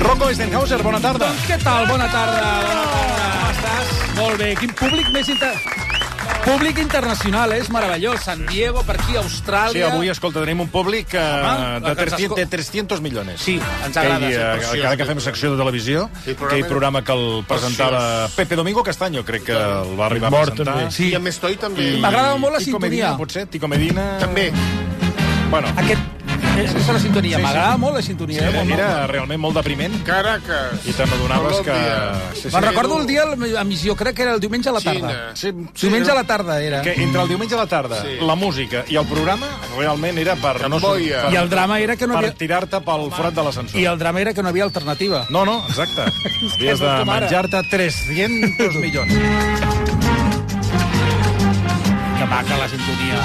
Xavi Stenhauser, bona tarda. Doncs què tal? Bona tarda. Bona tarda. Com estàs? Molt bé. Quin públic més inter... Públic internacional, eh? és meravellós. San Diego, per aquí, Sí, Austràlia... avui, escolta, tenim un públic eh, Home, de, que ens 300, escol- de 300 milions. Sí, ens Que agrada. hi, sí. eh, cada que fem secció de televisió, Sí, que hi programa que el presentava Pepe Domingo Castaño, crec que el va arribar a Mort, presentar. també. Sí. I amb Estoy també. M'agrada molt la Tico Medina, sintonia. potser, Tico Medina... També. Bueno, Aquest... Aquesta és la Sí, sintonia. sí. M'agrada molt la sintonia. eh? era, Molt, era molt. realment molt depriment Caracas. i te n'adonaves que... Colòmbia. Sí, sí. Me'n recordo el dia, a missió, crec que era el diumenge a la tarda. Xina. Sí, sí, Diumenge a la tarda era. que entre el diumenge a la tarda, Sí. la música i el programa realment era per... Camboia. I el drama era que no Per havia... tirar-te pel forat de l'ascensor. I el drama era que no havia alternativa. No, no, exacte. Havies no és de com ara. menjar-te 300 milions. Que maca la sintonia.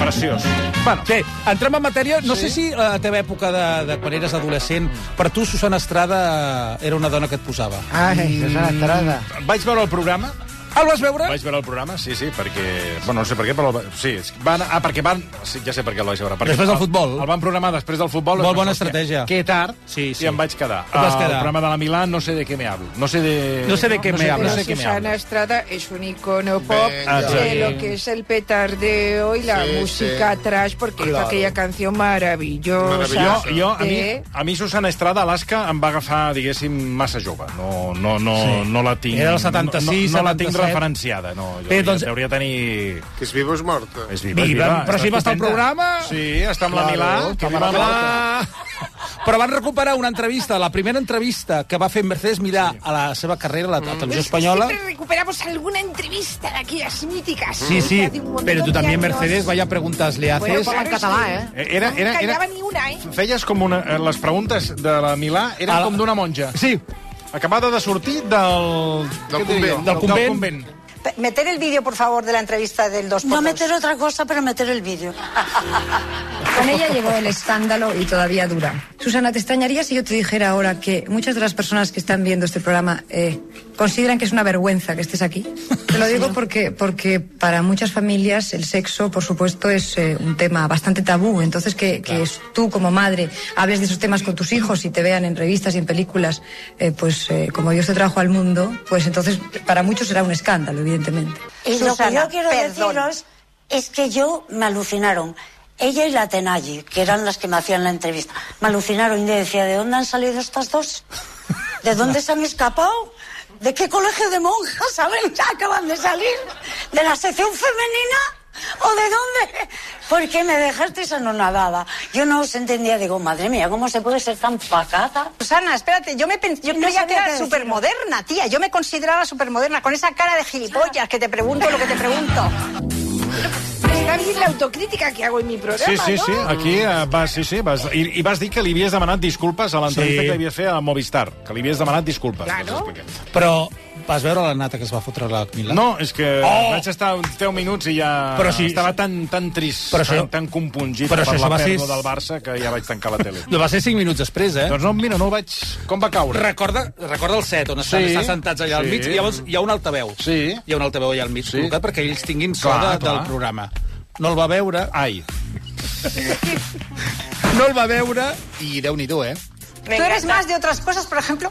Preciós. Bueno, bé, entrem en matèria. No sé si eh, a la teva època de, de quan eres adolescent, per tu Susana Estrada eh, era una dona que et posava. Ah. Ai, Susana Estrada. Vaig veure el programa, Ah, el vas veure? vaig veure el programa, sí, sí, perquè... Bueno, no sé per què, però... el va- Sí, és que van... Ah, perquè van... Sí, ja sé per què el vaig veure. Perquè Després del el- futbol. El van programar després del futbol. Molt bona Hòstia, estratègia. Que tard. Sí, sí. I em vaig quedar. Et vas El quedar. programa de la Milà, no sé de què me hablo. No sé de... No sé de què me sé- hablas. No sé què me Susana hablas. Estrada es un icono pop Venga. de lo que es el petardeo y la Sí, música sí. trash, porque hizo Claro. aquella canción maravillosa. Maravillosa. Jo, jo, a, mi, de- a mi Susana Estrada, Alaska, em va agafar, diguéssim, massa jove. No, no, no, sí. no la tinc... Era el no, 76, no, no la tinc 77. referenciada, no. Jo, Bé, Bé, doncs- doncs... Hauria de tenir... Que és viva o és morta. És Viva, però està si va estar al estupenda. programa. Sí, està amb la Claro, Milà. que Que viva viva la Milà. Però van recuperar una entrevista, la primera entrevista que va fer Mercedes Milà a la seva carrera a la, a la televisió espanyola. Siempre recuperamos alguna entrevista de aquellas míticas. Sí, sí, de un montón pero tú de también, años. Mercedes, vaya preguntas le Bueno, haces. pues, claro, en català, sí. eh? Era, era, No era, callaba ni una, ¿eh? feies com una... eh, Les preguntes de la Milà eren A la- com d'una monja. Sí, Acabada de sortir del... Del què te diria? Del convent. Del convent. convent. Pe- Meter el vídeo, por favor, de la entrevista del 2 No meter otra cosa, pero meter el vídeo. Con ella llegó el escándalo y todavía dura. Susana, ¿te extrañaría si yo te dijera ahora que muchas de las personas que están viendo este programa eh, consideran que es una vergüenza que estés aquí? Te lo digo porque, porque para muchas familias el sexo, por supuesto, es eh, un tema bastante tabú. Entonces, que, que tú como madre hables de esos temas con tus hijos y te vean en revistas y en películas, eh, pues eh, como Dios te trajo al mundo, pues entonces para muchos será un escándalo, evidentemente. Y Susana, lo que yo quiero perdón. deciros es que yo me alucinaron. Ella y la Tenayi, que eran las que me hacían la entrevista, me alucinaron y yo decía, ¿de dónde han salido estas dos? ¿De dónde se han escapado? ¿De qué colegio de monjas saben acaban de salir? ¿De la sección femenina? ¿O de dónde? Porque me dejasteis anonadada. Yo no os entendía. Digo, madre mía, ¿cómo se puede ser tan pacata? Susana, espérate, yo me pen- yo No creía sabía qué que eras decir. supermoderna, tía. Yo me consideraba supermoderna, con esa cara de gilipollas que te pregunto lo que te pregunto. Está bien la autocrítica que hago en mi programa, Sí, sí, ¿no? sí, aquí eh, vas, sí, sí, vas, i, i vas dir que li havies demanat disculpes a l'entrevista Sí. sí. que li havies fet a Movistar, que li havies demanat disculpes. Claro. Que ens ho expliqui. però vas veure la nata que es va fotre la Milà? No, és que Oh! oh! vaig estar uns 10 minuts i ja Però si- estava tan, tan trist, Però això- tan, tan compungit però per això la va ser- pèrdua del Barça que ja vaig tancar la tele. No, va ser 5 minuts després, eh? doncs no, mira, no vaig... Com va caure? Recorda, recorda el set, on estan, Sí. estan sentats allà Sí. al mig, i llavors hi ha un altaveu. Sí. Hi ha un altaveu allà al mig, Sí. col·locat perquè ells tinguin so Clar, de, clar. del programa. No el va veure, Ai. no el va veure, I déu-n'hi-do, eh? ¿Tú eres más de otras cosas, por ejemplo?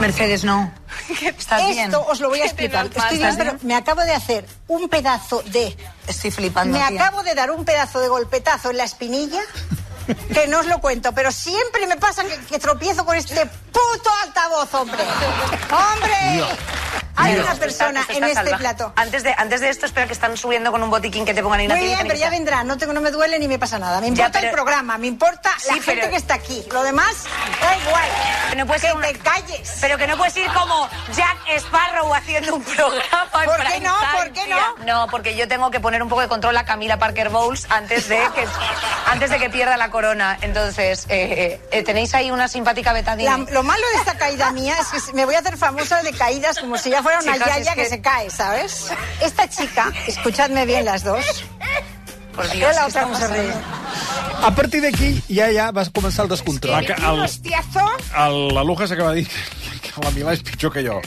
Mercedes, no. Estás Esto bien. os lo voy a explicar. Estoy bien, pero me acabo de hacer un pedazo de... Estoy flipando. Me tía. acabo de dar un pedazo de golpetazo en la espinilla, que no os lo cuento, pero siempre me pasa que, que tropiezo con este puto altavoz, hombre. ¡Hombre! Hay una persona Esto está en este salvaje. plato. Antes de, antes de esto, espero que están subiendo con un botiquín que te pongan ahí una Muy bien, tijerita. pero ya vendrá. No, tengo, no me duele ni me pasa nada. Me Ya, importa el pero- programa, me importa la Sí, gente pero- que está aquí. Lo demás, da igual. No puede que ser una- te calles. Pero que no puedes ir como Jack Sparrow haciendo un programa. en ¿Por qué prime no? time, ¿Por qué tía. No, porque yo tengo que poner un poco de control a Camila Parker Bowles antes de que, antes de que pierda la corona. Entonces, eh, eh, eh, tenéis ahí una simpática betadina. La- lo malo de esta caída mía es que se- me voy a hacer famosa de caídas como si ya fuera una Chicas, es yaya que... que- se cae, ¿sabes? Esta chica, escuchadme bien las dos. Por Yo Dios, la otra ¿qué está no se pasando? ríe. a partir d'aquí ja ja vas començar el descontrol. que Un el, hostiazo. el, la Luja s'acaba de dir que, que la Milà és pitjor que jo.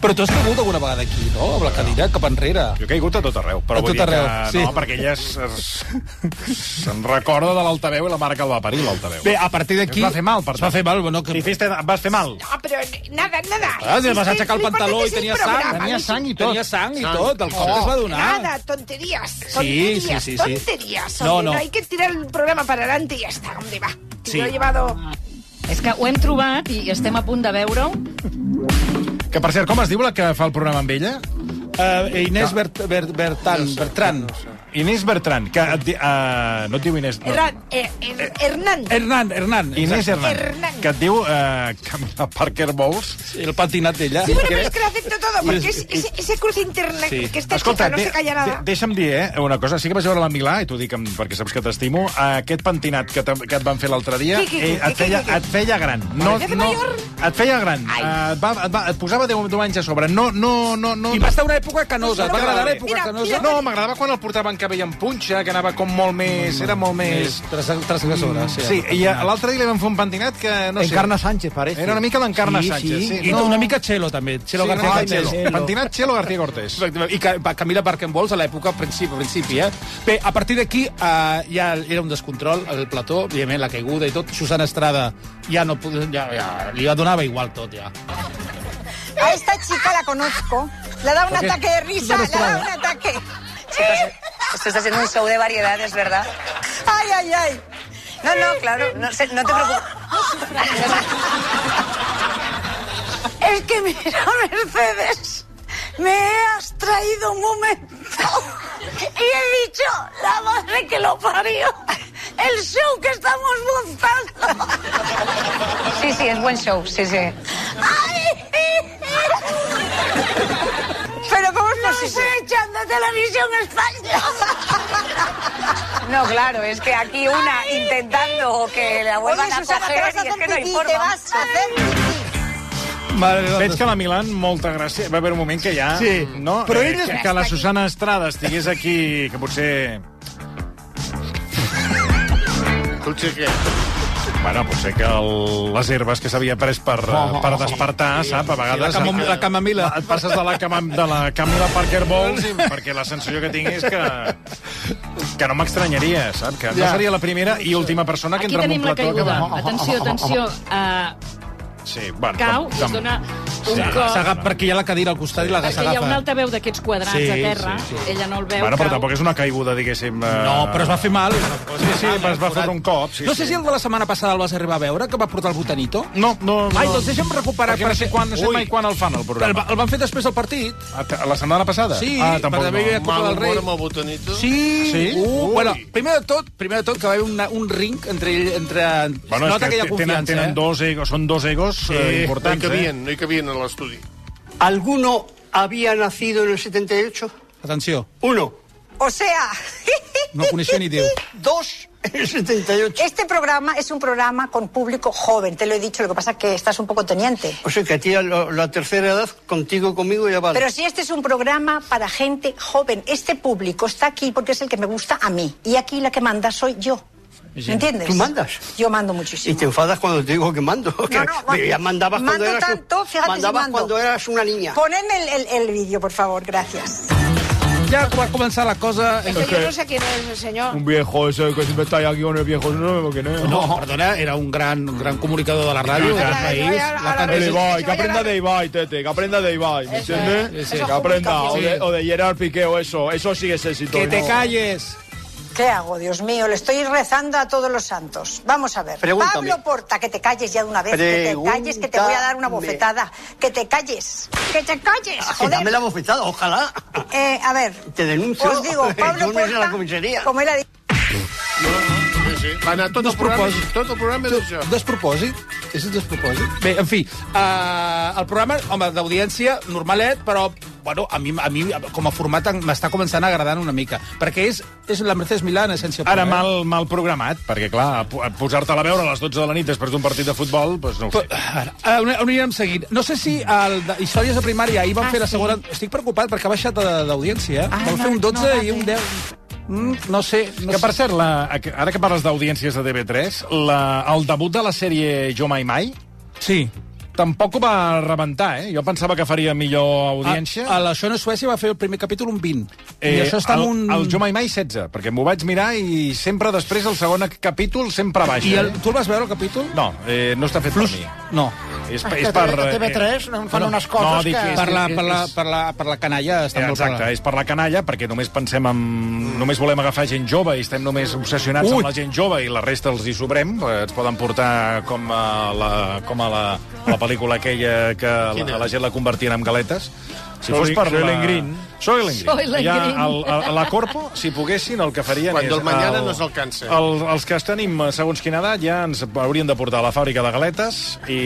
Però tu has caigut alguna vegada aquí, no? Amb la cadira cap enrere. Jo he caigut a tot arreu, però A vull tot arreu, dir que sí. no, perquè ella es- es- se'n recorda de l'altaveu i la marca el va parir, l'altaveu. Bé, a partir d'aquí... Es va fer mal, per Es va tant. fer mal, bueno, que... Li fiste, vas fer mal. Ah, però nada, nada. Ah, te vas Sí, aixecar el no importa pantaló que i sí, tenia programa, sang. no sé. i tot. Tenia sang i tot, el cop Oh, que es va donar. Nada, tonterías, Ah. Sí, tonterías, sí, sí, sí. tonterías. No, hombre, no. Hay que tirar el programa para adelante y ya está, hombre, va. Te Sí. Ah. Lo he llevado... És que ho hem trobat i estem a punt de veure-ho. Que, per cert, com es diu la que fa el programa amb ella? Eh, Inés Bert, Bert, Bertan, Bertran. Inés Bertran, que et di- eh, no et diu Inés... No. Hernán, eh, eh, Hernán. Hernán, Hernán. Inés Hernán, Hernán. que et diu eh, Camila Parker Bowles. El patinat d'ella. Sí, bueno, pero es que lo acepto todo, porque es, y- ese, ese cruce interna Sí. que esta chica no de- se calla de- nada. deixa'm dir, eh, una cosa. Sí que vaig veure la Milà, i t'ho dic amb, perquè saps que t'estimo, eh, aquest pentinat que, te- que et van fer l'altre dia Qui, qui, qui, eh, qui, et, feia, qui, qui? et feia gran. No, ¿Me hace no, mayor? et feia gran. Eh, et, va, et, va, et posava 10, 10 anys a sobre. No, no, no, no. I va estar una època canosa, et va agradar l'època Mira, canosa? mira, No, m'agradava quan el portaven cabell en punxa, que anava com molt més... Era molt més... Tres, tres gasores, Eh, Mm. sí. eh? Sí, i a- l'altre dia li van fer un pentinat que... No sé, Encarna Sánchez, parece. Era una mica l'Encarna Sí, Sánchez. sí. Sí. I una mica Chelo, també. Chelo Sí, García no, Cortés. Chelo. Pentinat Chelo García Cortés. Efectivament. I Ca- pa- Camila Parkenbols a l'època a principi, a principi, eh? Bé, a partir d'aquí eh, ja era un descontrol, el plató, evidentment, la caiguda i tot. Susana Estrada ja no... pod- Ja, ja, li donava igual tot, ja. A esta chica la conozco. Le da un ataque de risa, le da un ataque. Esto está siendo un show de variedades, ¿verdad? Ay, ay, ay. No, no, claro. No, sé, no te preocupes. Es que mira, Mercedes, me has traído un momento y he dicho, la madre que lo parió, el show que estamos montando. Sí, sí, es buen show. Sí, sí. Pero ¿cómo es Nos posible? echan de televisión España. No, claro, es que aquí una intentando que la vuelvan Oye, a Susana, te coger vas a y es que hacer no hay pipí, te forma. vas a hacer pipí. Mare de Déu. Veig que la Milan, molta gràcia... Va haver un moment que ja... Sí. No? Però Eh, ella- Que, que la Susana Estrada estigués aquí, que potser... Potser què? Bueno, potser que el, les herbes que s'havia pres per, Oh, eh, per despertar, sap? A vegades... la camom- la camamila. Et passes de la, cama, de la Camila Parker Bowles i- perquè la sensació que tinc és que... que no m'estranyaria, sap? Que no Ja. seria la primera i última persona que Aquí entra en tenim un la plató... caiguda. Que... Atenció, atenció. Uh, Sí, bueno, cau tam- i es tam- dona un Sí. cop. S'agafa perquè hi ha la cadira al costat i la Perquè hi ha un s'agafa. altaveu d'aquests quadrats Sí, a terra. sí, Ella no el veu. Bueno, però cau. tampoc és una caiguda, diguéssim... eh, No, però es va fer mal. Ah. Sí, sí, es va fotre un cop, sí, no sé sí. si el de la setmana passada el vas arribar a veure, que va portar el botanito. No, no, no. Ai, doncs deixa'm recuperar... Perquè no sé quan- no sé Ui. mai quan el fan, el programa. El, va- el van fer després del partit. A- a La setmana passada? Sí, ah, per tampoc haver no. hi ha Copa Mal del Rei. humor amb el botanito? Sí. Sí? Uh, Ui. bueno, primer de tot, primer de tot que va haver una, un ring entre ell, entre... Bueno, és es nota que hi ha te- tenen, confiança, tenen eh? dos egos, són dos egos sí, eh, no hi importants, eh? cabien, no hi cabien a l'estudi. ¿Alguno había nacido en el 78? Atenció, Uno. O sea, no coneixia ni Déu. Dos en el 78. este programa es un programa con público joven, te lo he dicho, lo que pasa es que estás un poco teniente. O sea que a ti a lo- la tercera edad, contigo, conmigo, ya vale. Pero si este es un programa para gente joven, este público está aquí porque es el que me gusta a mí. Y aquí la que manda soy yo. ¿Me entiendes? ¿Tú mandas? Yo mando Y muchísimo. te enfadas cuando te digo que mando. que ma- ya mandabas mando cuando eras, un- tanto, fíjate si mandabas mando. cuando eras una niña. Ponedme el, el- el vídeo, por favor, gracias. Ja va començar la cosa... Pero yo no sé quién es el señor. viejo ese que siempre está aquí con el viejo, no sabemos quién es. No, perdona, era un gran, un gran comunicador de la ràdio, del país. La El cantidad... Ibai, que aprenda de Ibai, Tete, que aprenda de Ibai, ¿me entiendes? Eso es que aprenda, o de, comunicación. o de Gerard Piqué o eso, eso sí que es éxito. Que te ¿no? Ah, calles! ¿Qué hago, Dios mío? Le estoy rezando a todos los santos. Vamos a ver. Pregúntame. Pablo Porta, que te calles ya de una vez. Que te calles, que te voy a dar una Pregúntame. bofetada. Que te calles. Que te calles, Ah, que joder. dame la bofetada, ojalá. Eh, a ver. Te denuncio. Os digo, Pablo Yo me voy a la Porta, comisaría. como él ha dicho, No, no, sí, sí. Va anar tot el programa, Despropòsit. tot el programa és això. Despropòsit? És un despropòsit? Bé, en fi, uh, el programa, home, d'audiència, normalet, però, bueno, a mi, a mi com a format m'està començant a agradar una mica, perquè és, és la Mercedes Milà en essència. Ara pura, eh? mal, mal programat, perquè, clar, po- posar-te-la a veure a les 12 de la nit després d'un partit de futbol, doncs no ho sé. Ara, eh, on, on anirem seguint? No sé si el de Històries de primària ahir van Ah, fer la sí. segona... Estic preocupat perquè ha baixat de- d'audiència, eh? Ah, van no, fer un no 12 va i un bé. 10. Mm, no sé. No Que, per sé. cert, la, ara que parles d'audiències de TV3, la, el debut de la sèrie Jo Mai Mai, Sí. tampoc ho va rebentar, eh? Jo pensava que faria millor audiència. A, a la Xona Suècia va fer el primer capítol un 20. Eh, I Eh, això està el, en un... El Jo Mai Mai 16, perquè m'ho vaig mirar i sempre després, el segon capítol, sempre baixa. I el- tu el vas veure, el capítol? No, eh, no està fet Plus... per mi. No. És, és per... eh, TV3 no, fan unes coses no, dic, que... és- Per la, és- per la, és- per la, per la canalla està Eh, molt Exacte, és per la canalla, perquè només pensem en... Només volem agafar gent jove i estem només obsessionats Ui! amb la gent jove i la resta els hi sobrem. Eh, Ens poden portar com a la, com a la, a la pel·lícula aquella que la, Quina? a la gent la convertien en galetes. Si Soil- fos per Soylent la... Green. Soylent Green. Soylent Ja, Green. el, a, la Corpo, si poguessin, el que farien Quan és... del mañana no s'alcança. El, els que tenim eh, segons quina edat ja ens haurien de portar a la fàbrica de galetes i,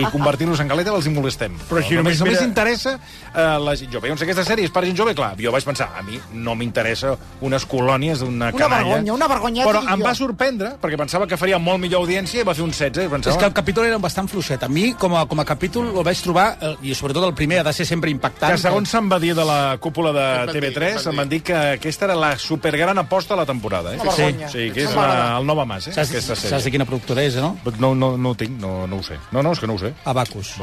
i convertir-nos en galeta els hi molestem. Però si només només, només mira- interessa eh, la gent jove. Llavors, aquesta sèrie és per gent jove, clar, jo vaig pensar, a mi no m'interessa unes colònies d'una Una canalla. vergonya, una vergonya. Però dic em jo. va sorprendre, perquè pensava que faria molt millor audiència i va fer un 16. I pensava... És que el capítol era bastant fluixet. A mi, com a, com a capítol, el vaig trobar, eh, i sobretot el primer, ha de ser sempre impactant. que eh? segons se'm va dir de la cúpula de Em van dir, em TV3, van em van dir que aquesta era la supergran aposta de la temporada. Eh? Una vergonya. Sí, que és Una la, vergonya. el Nova Mas, eh? Saps- aquesta sèrie. saps de quina productora és, no? No, no, no ho tinc, no, no ho sé. No, no, és que no ho sé. Abacus.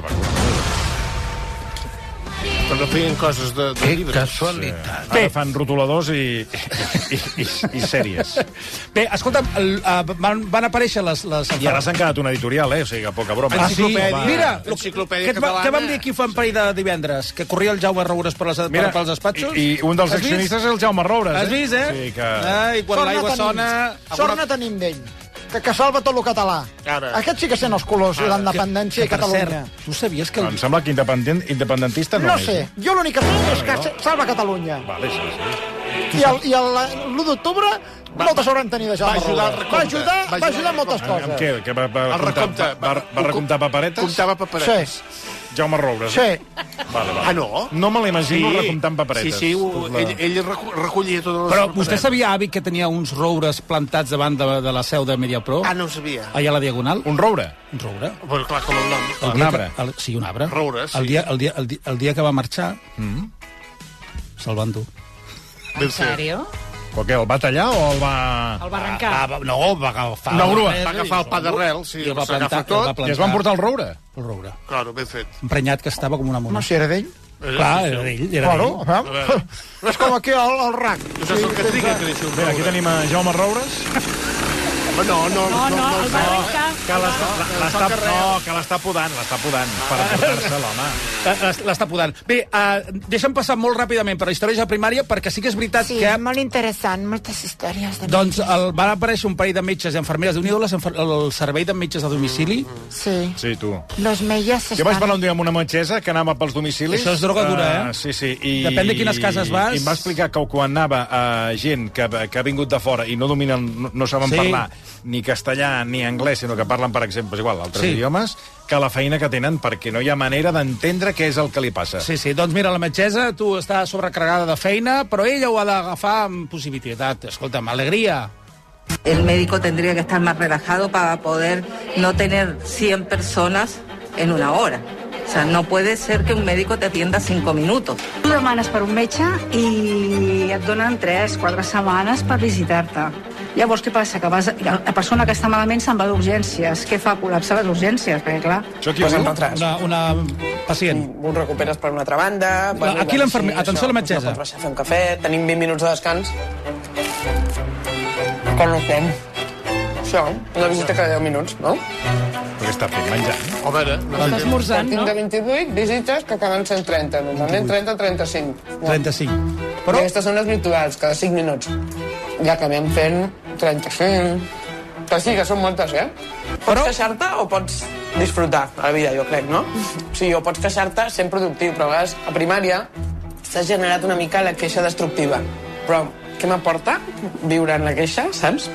Però feien coses de, de llibres. casualitat. Ara fan rotuladors i, i, i, i sèries. Bé, escolta'm, el, eh, van, van aparèixer les... les I ara s'han quedat una editorial, eh? O sigui, que poca broma. Ah, sí? Va. Mira, lo- Enciclopèdia què, et va- catalana. què vam dir aquí fa un parell de divendres? Que corria el Jaume Roures per les, Mira, Mira, pels despatxos? I, I un dels Has vist? accionistes és el Jaume Roures, eh? Has vist, eh? Sí, que... Ai, quan Sort l'aigua ne sona... Tenim, sort ne tenim d'ell, que, que salva tot el català. Ara. Aquest sí que sent els colors de la independència i per Catalunya. cert, tu sabies que... Em sembla que independent, independentista no, No és. sé, jo l'únic que sé és que se- salva Catalunya. Vale, sí, sí. I el- i el- l'1 d'octubre moltes hauran tenir de Jaume va ajudar al Roures. recompte. Va ajudar, Va va ajudar ajudar al moltes Amb, amb coses. què? Que va, va, El recompte. comptar- va, va recomptar paperetes? Comptava paperetes. Sí. Jaume Roures. eh? Sí. Vale, vale. Ah, no? No me l'imagino recomptant paperetes. Sí, sí, ho, La- ell, ell recu- recollia totes les Però vostè paperetes. sabia, avi, que tenia uns roures plantats davant de, de la seu de Mediapro? Ah, no ho sabia. Allà a la Diagonal? Un roure? Un roure. Però clar, com el nom. El Un dia arbre. Que, el, sí, un arbre. Roure, sí. El dia, el dia, el dia, el dia que va marxar, Mm. se'l van dur. En sèrio? Però què, el va tallar o el va... El va arrencar. Ah, va, no, va agafar... eh, Una grua. Va agafar el pa d'arrel, sí, I el va s'agafa plantar, tot. el va plantar. I es van portar el roure? El roure. Claro, ben fet. Emprenyat que estava com una mona. No, si era d'ell. Clar, era d'ell. Era Claro, d'ell. a veure. és com aquí al, al RAC. Tu saps el que et dic, que deixo un Bé, aquí tenim a Jaume Roures. Home, no, no, no, no, No, el va arrencar. Que l'està l'està- no, que l'està podant, l'està podant. Per emportar-se l'home. L'est- Eh, L'està podant. Bé, uh, deixa'm passar molt ràpidament per la història de primària, perquè sí que és veritat Sí, que... molt interessant, moltes històries. De... Doncs el, van aparèixer un parell de metges i enfermeres. déu nhi les enfer- el servei de metges a domicili. Sí, Sí, tu. los meyes Jo vaig estan... parlar un dia amb una metgessa que anava pels domicilis. Això és droga dura, eh? Ah, sí, sí. I, Depèn de quines cases vas. I em va explicar que quan anava a gent que, que ha vingut de fora i no dominen, no, no saben Sí. sí. parlar ni castellà ni anglès, sinó que parlen, per exemple, és igual, altres Sí. sí. idiomes, que la feina que tenen perquè no hi ha manera d'entendre què és el que li passa. Sí, sí, doncs mira, la metgessa, tu està sobrecarregada de feina, però ella ho ha d'agafar amb positivitat. Escolta'm, alegria. El médico tendría que estar más relajado para poder no tener 100 personas en una hora. O sea, no puede ser que un médico te atienda cinco minutos. Tu demanes per un metge i et donen 3, 4 setmanes per visitar-te. Llavors, què passa? Que vas, la persona que està malament se'n va d'urgències. Què fa? Col·lapsar les urgències, perquè clar... Això qui ho diu? Una, una pacient. Un recuperes per una altra banda... aquí l'enfermer- això, atenció a la doncs metgessa. No pots baixar a fer un cafè, tenim 20 minuts de descans. Con lo com. Això, una visita cada 10 minuts, no? Però què està fent? Menjant? A veure, no sé què. Partim de 28 visites que acaben 130, normalment 30-35. 35. Però... Aquestes són les virtuals, cada 5 minuts. Ja acabem fent 35. Que sí, que són moltes, eh? Pots però... queixar-te o pots disfrutar a la vida, jo crec, no? O sigui, o pots queixar-te sent productiu, però a vegades a primària s'ha generat una mica la queixa destructiva. Però què m'aporta viure en la queixa, saps?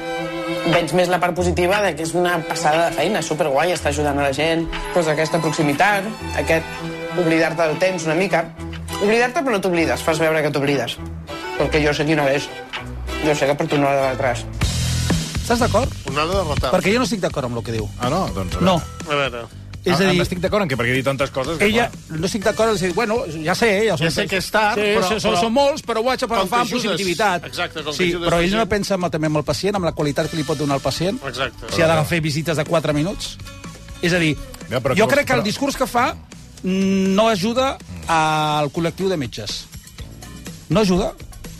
Veig més la part positiva de que és una passada de feina, és superguai, està ajudant a la gent. Doncs aquesta proximitat, aquest oblidar-te del temps una mica. Oblidar-te però no t'oblides, fas veure que t'oblides. Perquè jo sé quina hora és. Jo sé que per tu no hora de retras. Estàs d'acord? Una hora de retard. Perquè jo no estic d'acord amb el que diu. Ah, no? Doncs a No. A veure. És a Ah, dir- Estic d'acord en què, perquè he dit tantes coses... Que, Ella, no estic d'acord, els dic, bueno, ja sé, ja, són, Ja sé que és tard, sí, però- Són, però- són molts, però ho haig per Com agafar amb t'ajudes- positivitat. exacte, com sí, t'ajudes però la ell no gent. pensa en- també amb el pacient, amb la qualitat que li pot donar el pacient. Exacte. Si ha de fer visites de 4 minuts. És a dir, Ja, però jo com- crec que però- el discurs que fa no ajuda al col·lectiu de metges. No ajuda.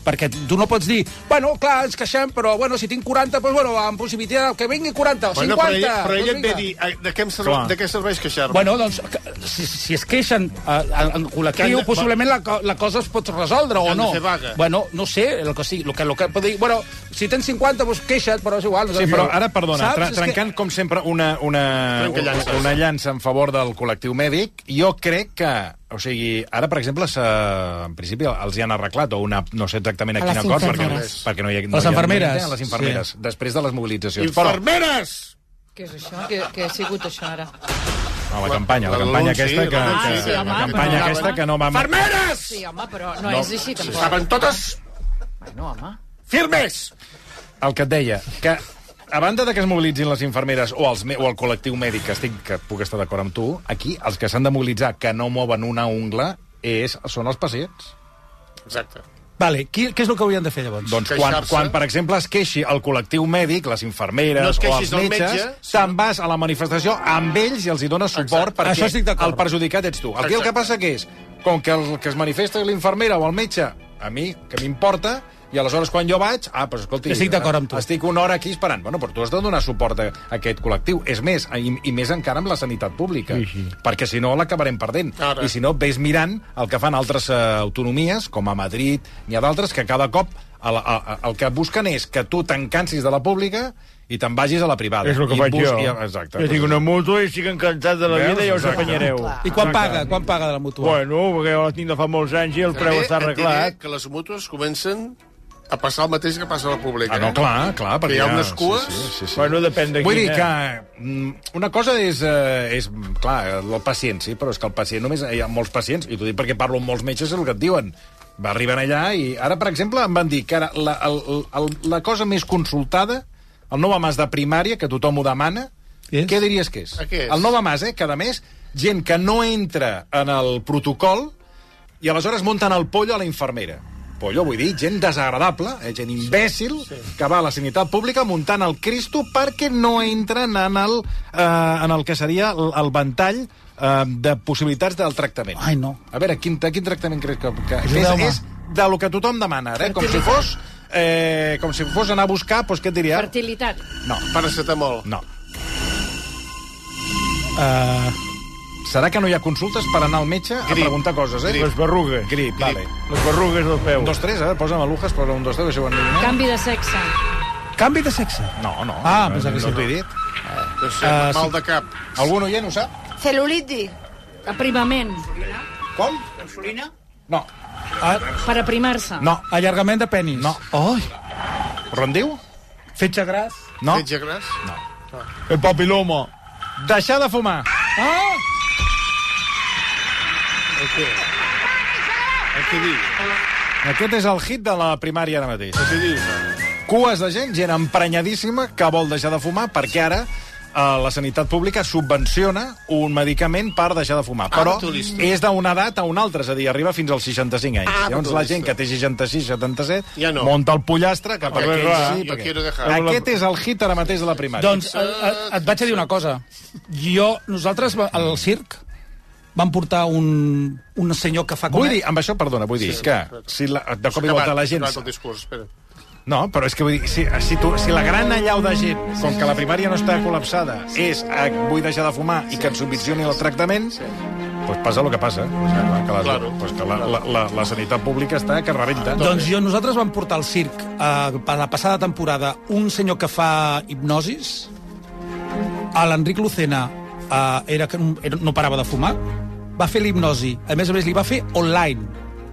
Perquè tu no pots dir, bueno, clar, ens queixem, però bueno, si tinc 40, doncs bueno, amb possibilitat que vingui 40, Bueno, 50... però ella, però doncs ella et ve vinga. dir eh, de què, em serve, Clar. de què serveix queixar-me. Bueno, doncs, que- si, si es queixen eh, en en Que col·lectiu, han de- possiblement la, co- la cosa es pot resoldre Que o han de no. fer vaga. Bueno, no sé, el que sí, el que, el que pot dir, bueno, si tens 50, doncs queixa't, però és igual. Sí, però ara, perdona, Doncs Saps? tra És que- trencant com sempre una, una, Trenca llances. una llança en favor del col·lectiu mèdic, jo crec que, o sigui, ara, per exemple, s'ha- en principi els hi han arreglat, o una, no sé exactament a, A quin les acord, perquè, no- infermeres. perquè no hi ha... Les no hi ha- infermeres. no hi ha- les infermeres, Sí. sí. després de les mobilitzacions. Infermeres! Què és això? Què, què ha sigut això ara? Però, no, la campanya, la La- campanya l'anunci, aquesta que... l'anunci. que Ah, sí, home, la campanya però- aquesta que no va... Infermeres! Sí, home, però no, No, és així, sí. tampoc. Estaven totes Bueno, home. firmes! El que et deia, que a banda de que es mobilitzin les infermeres o, els, me- o el col·lectiu mèdic, que estic que puc estar d'acord amb tu, aquí els que s'han de mobilitzar que no mouen una ungla és, són els pacients. Exacte. Vale, qui, què és el que haurien de fer, llavors? Doncs quan, Queixar-se. quan, per exemple, es queixi el col·lectiu mèdic, les No infermeres et no o els queixis del metges, metge, te'n vas a la manifestació amb ells i els hi dones suport Exacte. Això perquè estic d'acord. el perjudicat ets tu. Aquí el Exacte. que passa que és, com que el que es manifesta és l'infermera o el metge, a mi, que m'importa, i aleshores quan jo vaig, ah, però escolti... Estic d'acord amb tu. Estic una hora aquí esperant. Bueno, però tu has de donar suport a aquest col·lectiu. És més, i, i més encara amb la sanitat pública. Sí, sí. Perquè si no, l'acabarem perdent. Ara. I si no, ves mirant el que fan altres eh, autonomies, com a Madrid, n'hi ha d'altres, que cada cop el, el, el que busquen és que tu te'n cansis de la pública i te'n vagis a la privada. És el que I faig bus- jo. i- Exacte. Jo tinc una moto i estic encantat de la Veus? vida i ja us Exacte. apanyareu. I quan Ah, Exacte. paga? Quan paga de la mútua? Bueno, perquè jo la tinc de fa molts anys i el preu està et diré arreglat. que les mútues comencen a passar el mateix que passa a la pública. Ah, no, eh? clar, clar, perquè Que hi ha ja- unes cues... sí, sí, sí, sí. Bueno, depèn de eh? Vull dir quina. que mm, una cosa és, eh, és mm, clar, el pacient, sí, però és que el pacient només... Hi ha molts pacients, i t'ho dic perquè parlo amb molts metges, és el que et diuen. Va arriben allà i ara, per exemple, em van dir que ara la, el, el, la cosa més consultada, el nou amàs de primària, que tothom ho demana, és? què diries que és? A què és? El nou amàs, eh, cada mes, gent que no entra en el protocol i aleshores munten el pollo a la infermera. Pollo, vull dir, gent desagradable, eh, gent imbècil, sí, sí. que va a la sanitat pública muntant el Cristo perquè no entren en el, eh, en el que seria el, el ventall eh, de possibilitats del tractament. Ai, no. A veure, quin, quin tractament creus que... que que és, Ajudeu-me. és de lo que tothom demana, ara, eh? com si fos... Eh, com si fos anar a buscar, doncs què et diria? Fertilitat. No. Paracetamol. No. Uh... Serà que no hi ha consultes per anar al metge grip. a preguntar coses, eh? Grip. Les berrugues. Grip, grip. vale. Les berrugues del peu. Un, dos, tres, eh? Posa'm a Lujas, posa un, dos, tres, deixeu en Canvi de sexe. Canvi de sexe? No, no. Ah, no, pensava que sí. no t'ho he dit. No sé, mal Doncs de cap. Algun oient ho sap? Cel·luliti. Aprimament. Com? Insulina? No. Ah, Per aprimar-se. no. Allargament de penis? No. Ai. Rondiu? Fetge gras? No. Fetge gras? No. El papiloma. Deixar de fumar. Ah! El què? El què diu? Aquest és el hit de la primària ara mateix. El què diu? Cues de gent, gent emprenyadíssima que vol deixar de fumar perquè ara eh, la sanitat pública subvenciona un medicament per deixar de fumar. Ah, Però tu listo. és d'una edat a una altra, és a dir, arriba fins als 65 anys. Ah, Llavors tu la listo. gent que té 66, 77, Ja no. monta el pollastre cap a Perquè aquell clar, sí, jo perquè- quiero dejar. Aquest és el hit ara mateix de la primària. Doncs eh, eh, et vaig a dir una cosa. Jo, nosaltres, va- al circ, vam portar un, un senyor que fa... com- Vull dir, amb això, perdona, vull dir Sí, que si la, de cop i volta la gent... el discurs, espera. No, però és que vull dir, si, si, tu, si la gran allau de gent, com que la primària no està col·lapsada, és eh, vull deixar de fumar i que et subvencioni el tractament, doncs passa el que passa. O sigui, clar, que la, claro, pues que la, la, la, la sanitat pública està que rebenta. Doncs jo, nosaltres vam portar al circ, eh, per la passada temporada, un senyor que fa hipnosis. A l'Enric Lucena eh, era, que no- era, no parava de fumar. Va fer l'hipnosi. A més a més, li va fer online.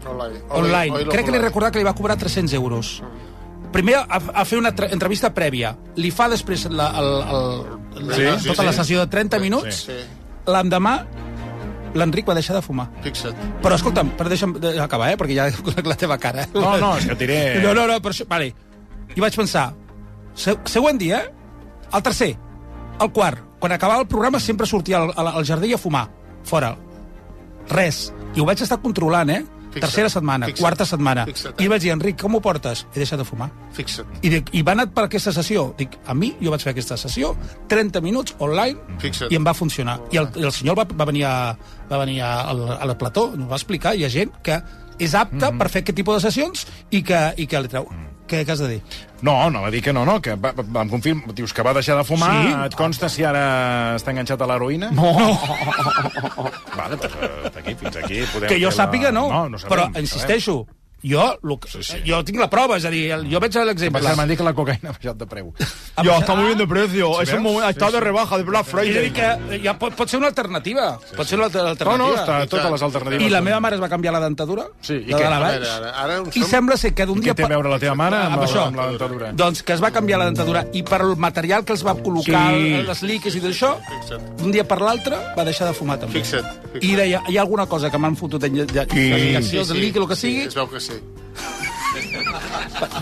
Online. online. Oílo Crec que li online. recordar que li va cobrar 300 euros. Primer a, a fer una tre- entrevista prèvia. Li fa després la, el, el, Sí, la, sí, tota sí. la sessió de 30 minuts. Sí. L'endemà, l'Enric va deixar de fumar. Fixa't. Però escolta'm, però deixa'm acabar, eh? perquè ja conec la teva cara. Eh? No, no, és que et diré... No, no, no, per això... Vale. I vaig pensar, se- següent dia, el tercer, el quart, quan acabava el programa sempre sortia al, al, al jardí a fumar, fora. Res. I ho vaig estar controlant, eh? Fixa't. Tercera setmana, Fixa't. quarta setmana. Fixa't. eh. I li vaig dir, Enric, com ho portes? He deixat de fumar. Fixa't. I, dic, I va anar per aquesta sessió. Dic, a mi, jo vaig fer aquesta sessió, 30 minuts online, Fixa't. i em va funcionar. I el, i el senyor va, va venir, a, va venir a, a, a la plató, ens ho va explicar, hi ha gent que és Mhm. apta mm -hmm. per fer aquest tipus de sessions i que, i que li treu. Mm. Què, què has de dir? No, no, va dir que no, no, que va, va, em confirm... Dius que va deixar de fumar, sí? Sí. et consta si ara està enganxat a l'heroïna? No. Vale, doncs eh, d'aquí fins aquí podem... Que fer jo la- sàpiga, no. no, no sabem, Però, no insisteixo, jo, lo, que- jo tinc la prova, és a dir, el- jo veig l'exemple. Sabem. M'han dit que la cocaïna ha baixat de preu. Ya, está muy bien de precio. Sí, Es un veus? momento- está de rebaja, de Black Friday. És a dir, que ja pot, pot ser una alternativa. Sí. Pot ser una alter- alternativa. No, no, està- totes les alternatives I la són. meva mare es va canviar la dentadura. Sí, i què? la A veure, ara- ara on I som? sembla ser que d'un I què dia... té a veure la teva mare amb la- Ah, això? amb la dentadura? Doncs que es va canviar la dentadura i per el material que els va col·locar, Sí. sí. les líquids i tot això, d'un dia per l'altre va deixar de fumar també. Fixa't. I deia, hi ha alguna cosa que m'han fotut en lle- lle- injeccions, sí, sí. líquid, el que sigui... Sí, es veu que sí.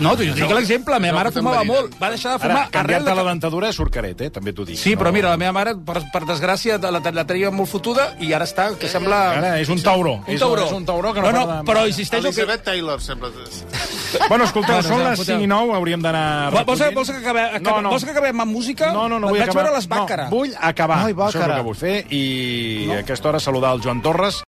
No, jo dic l'exemple, la meva mare fumava molt, va deixar de fumar Ara, canviar-te arrel de... la dentadura surt caret, eh? també t'ho dic. Sí, però mira, la meva mare, per, per desgràcia, la, la tenia molt fotuda i ara està, que sembla... Ara és un tauró. Un tauró. És un tauró que no, no, para de- però insisteixo que... Elizabeth Taylor, sembla... Bueno, escolteu, Bueno, són ja, les foteu. 5 i 9, hauríem d'anar... Va, vols, recollint. vols, que acabem, acabem, No, no. vols que acabem amb música? No, no, no vull Vaig acabar. veure les Bàcara. No, vull acabar. Ai, Això és el Bàcara. que vull fer. I a aquesta hora saludar el Joan Torres,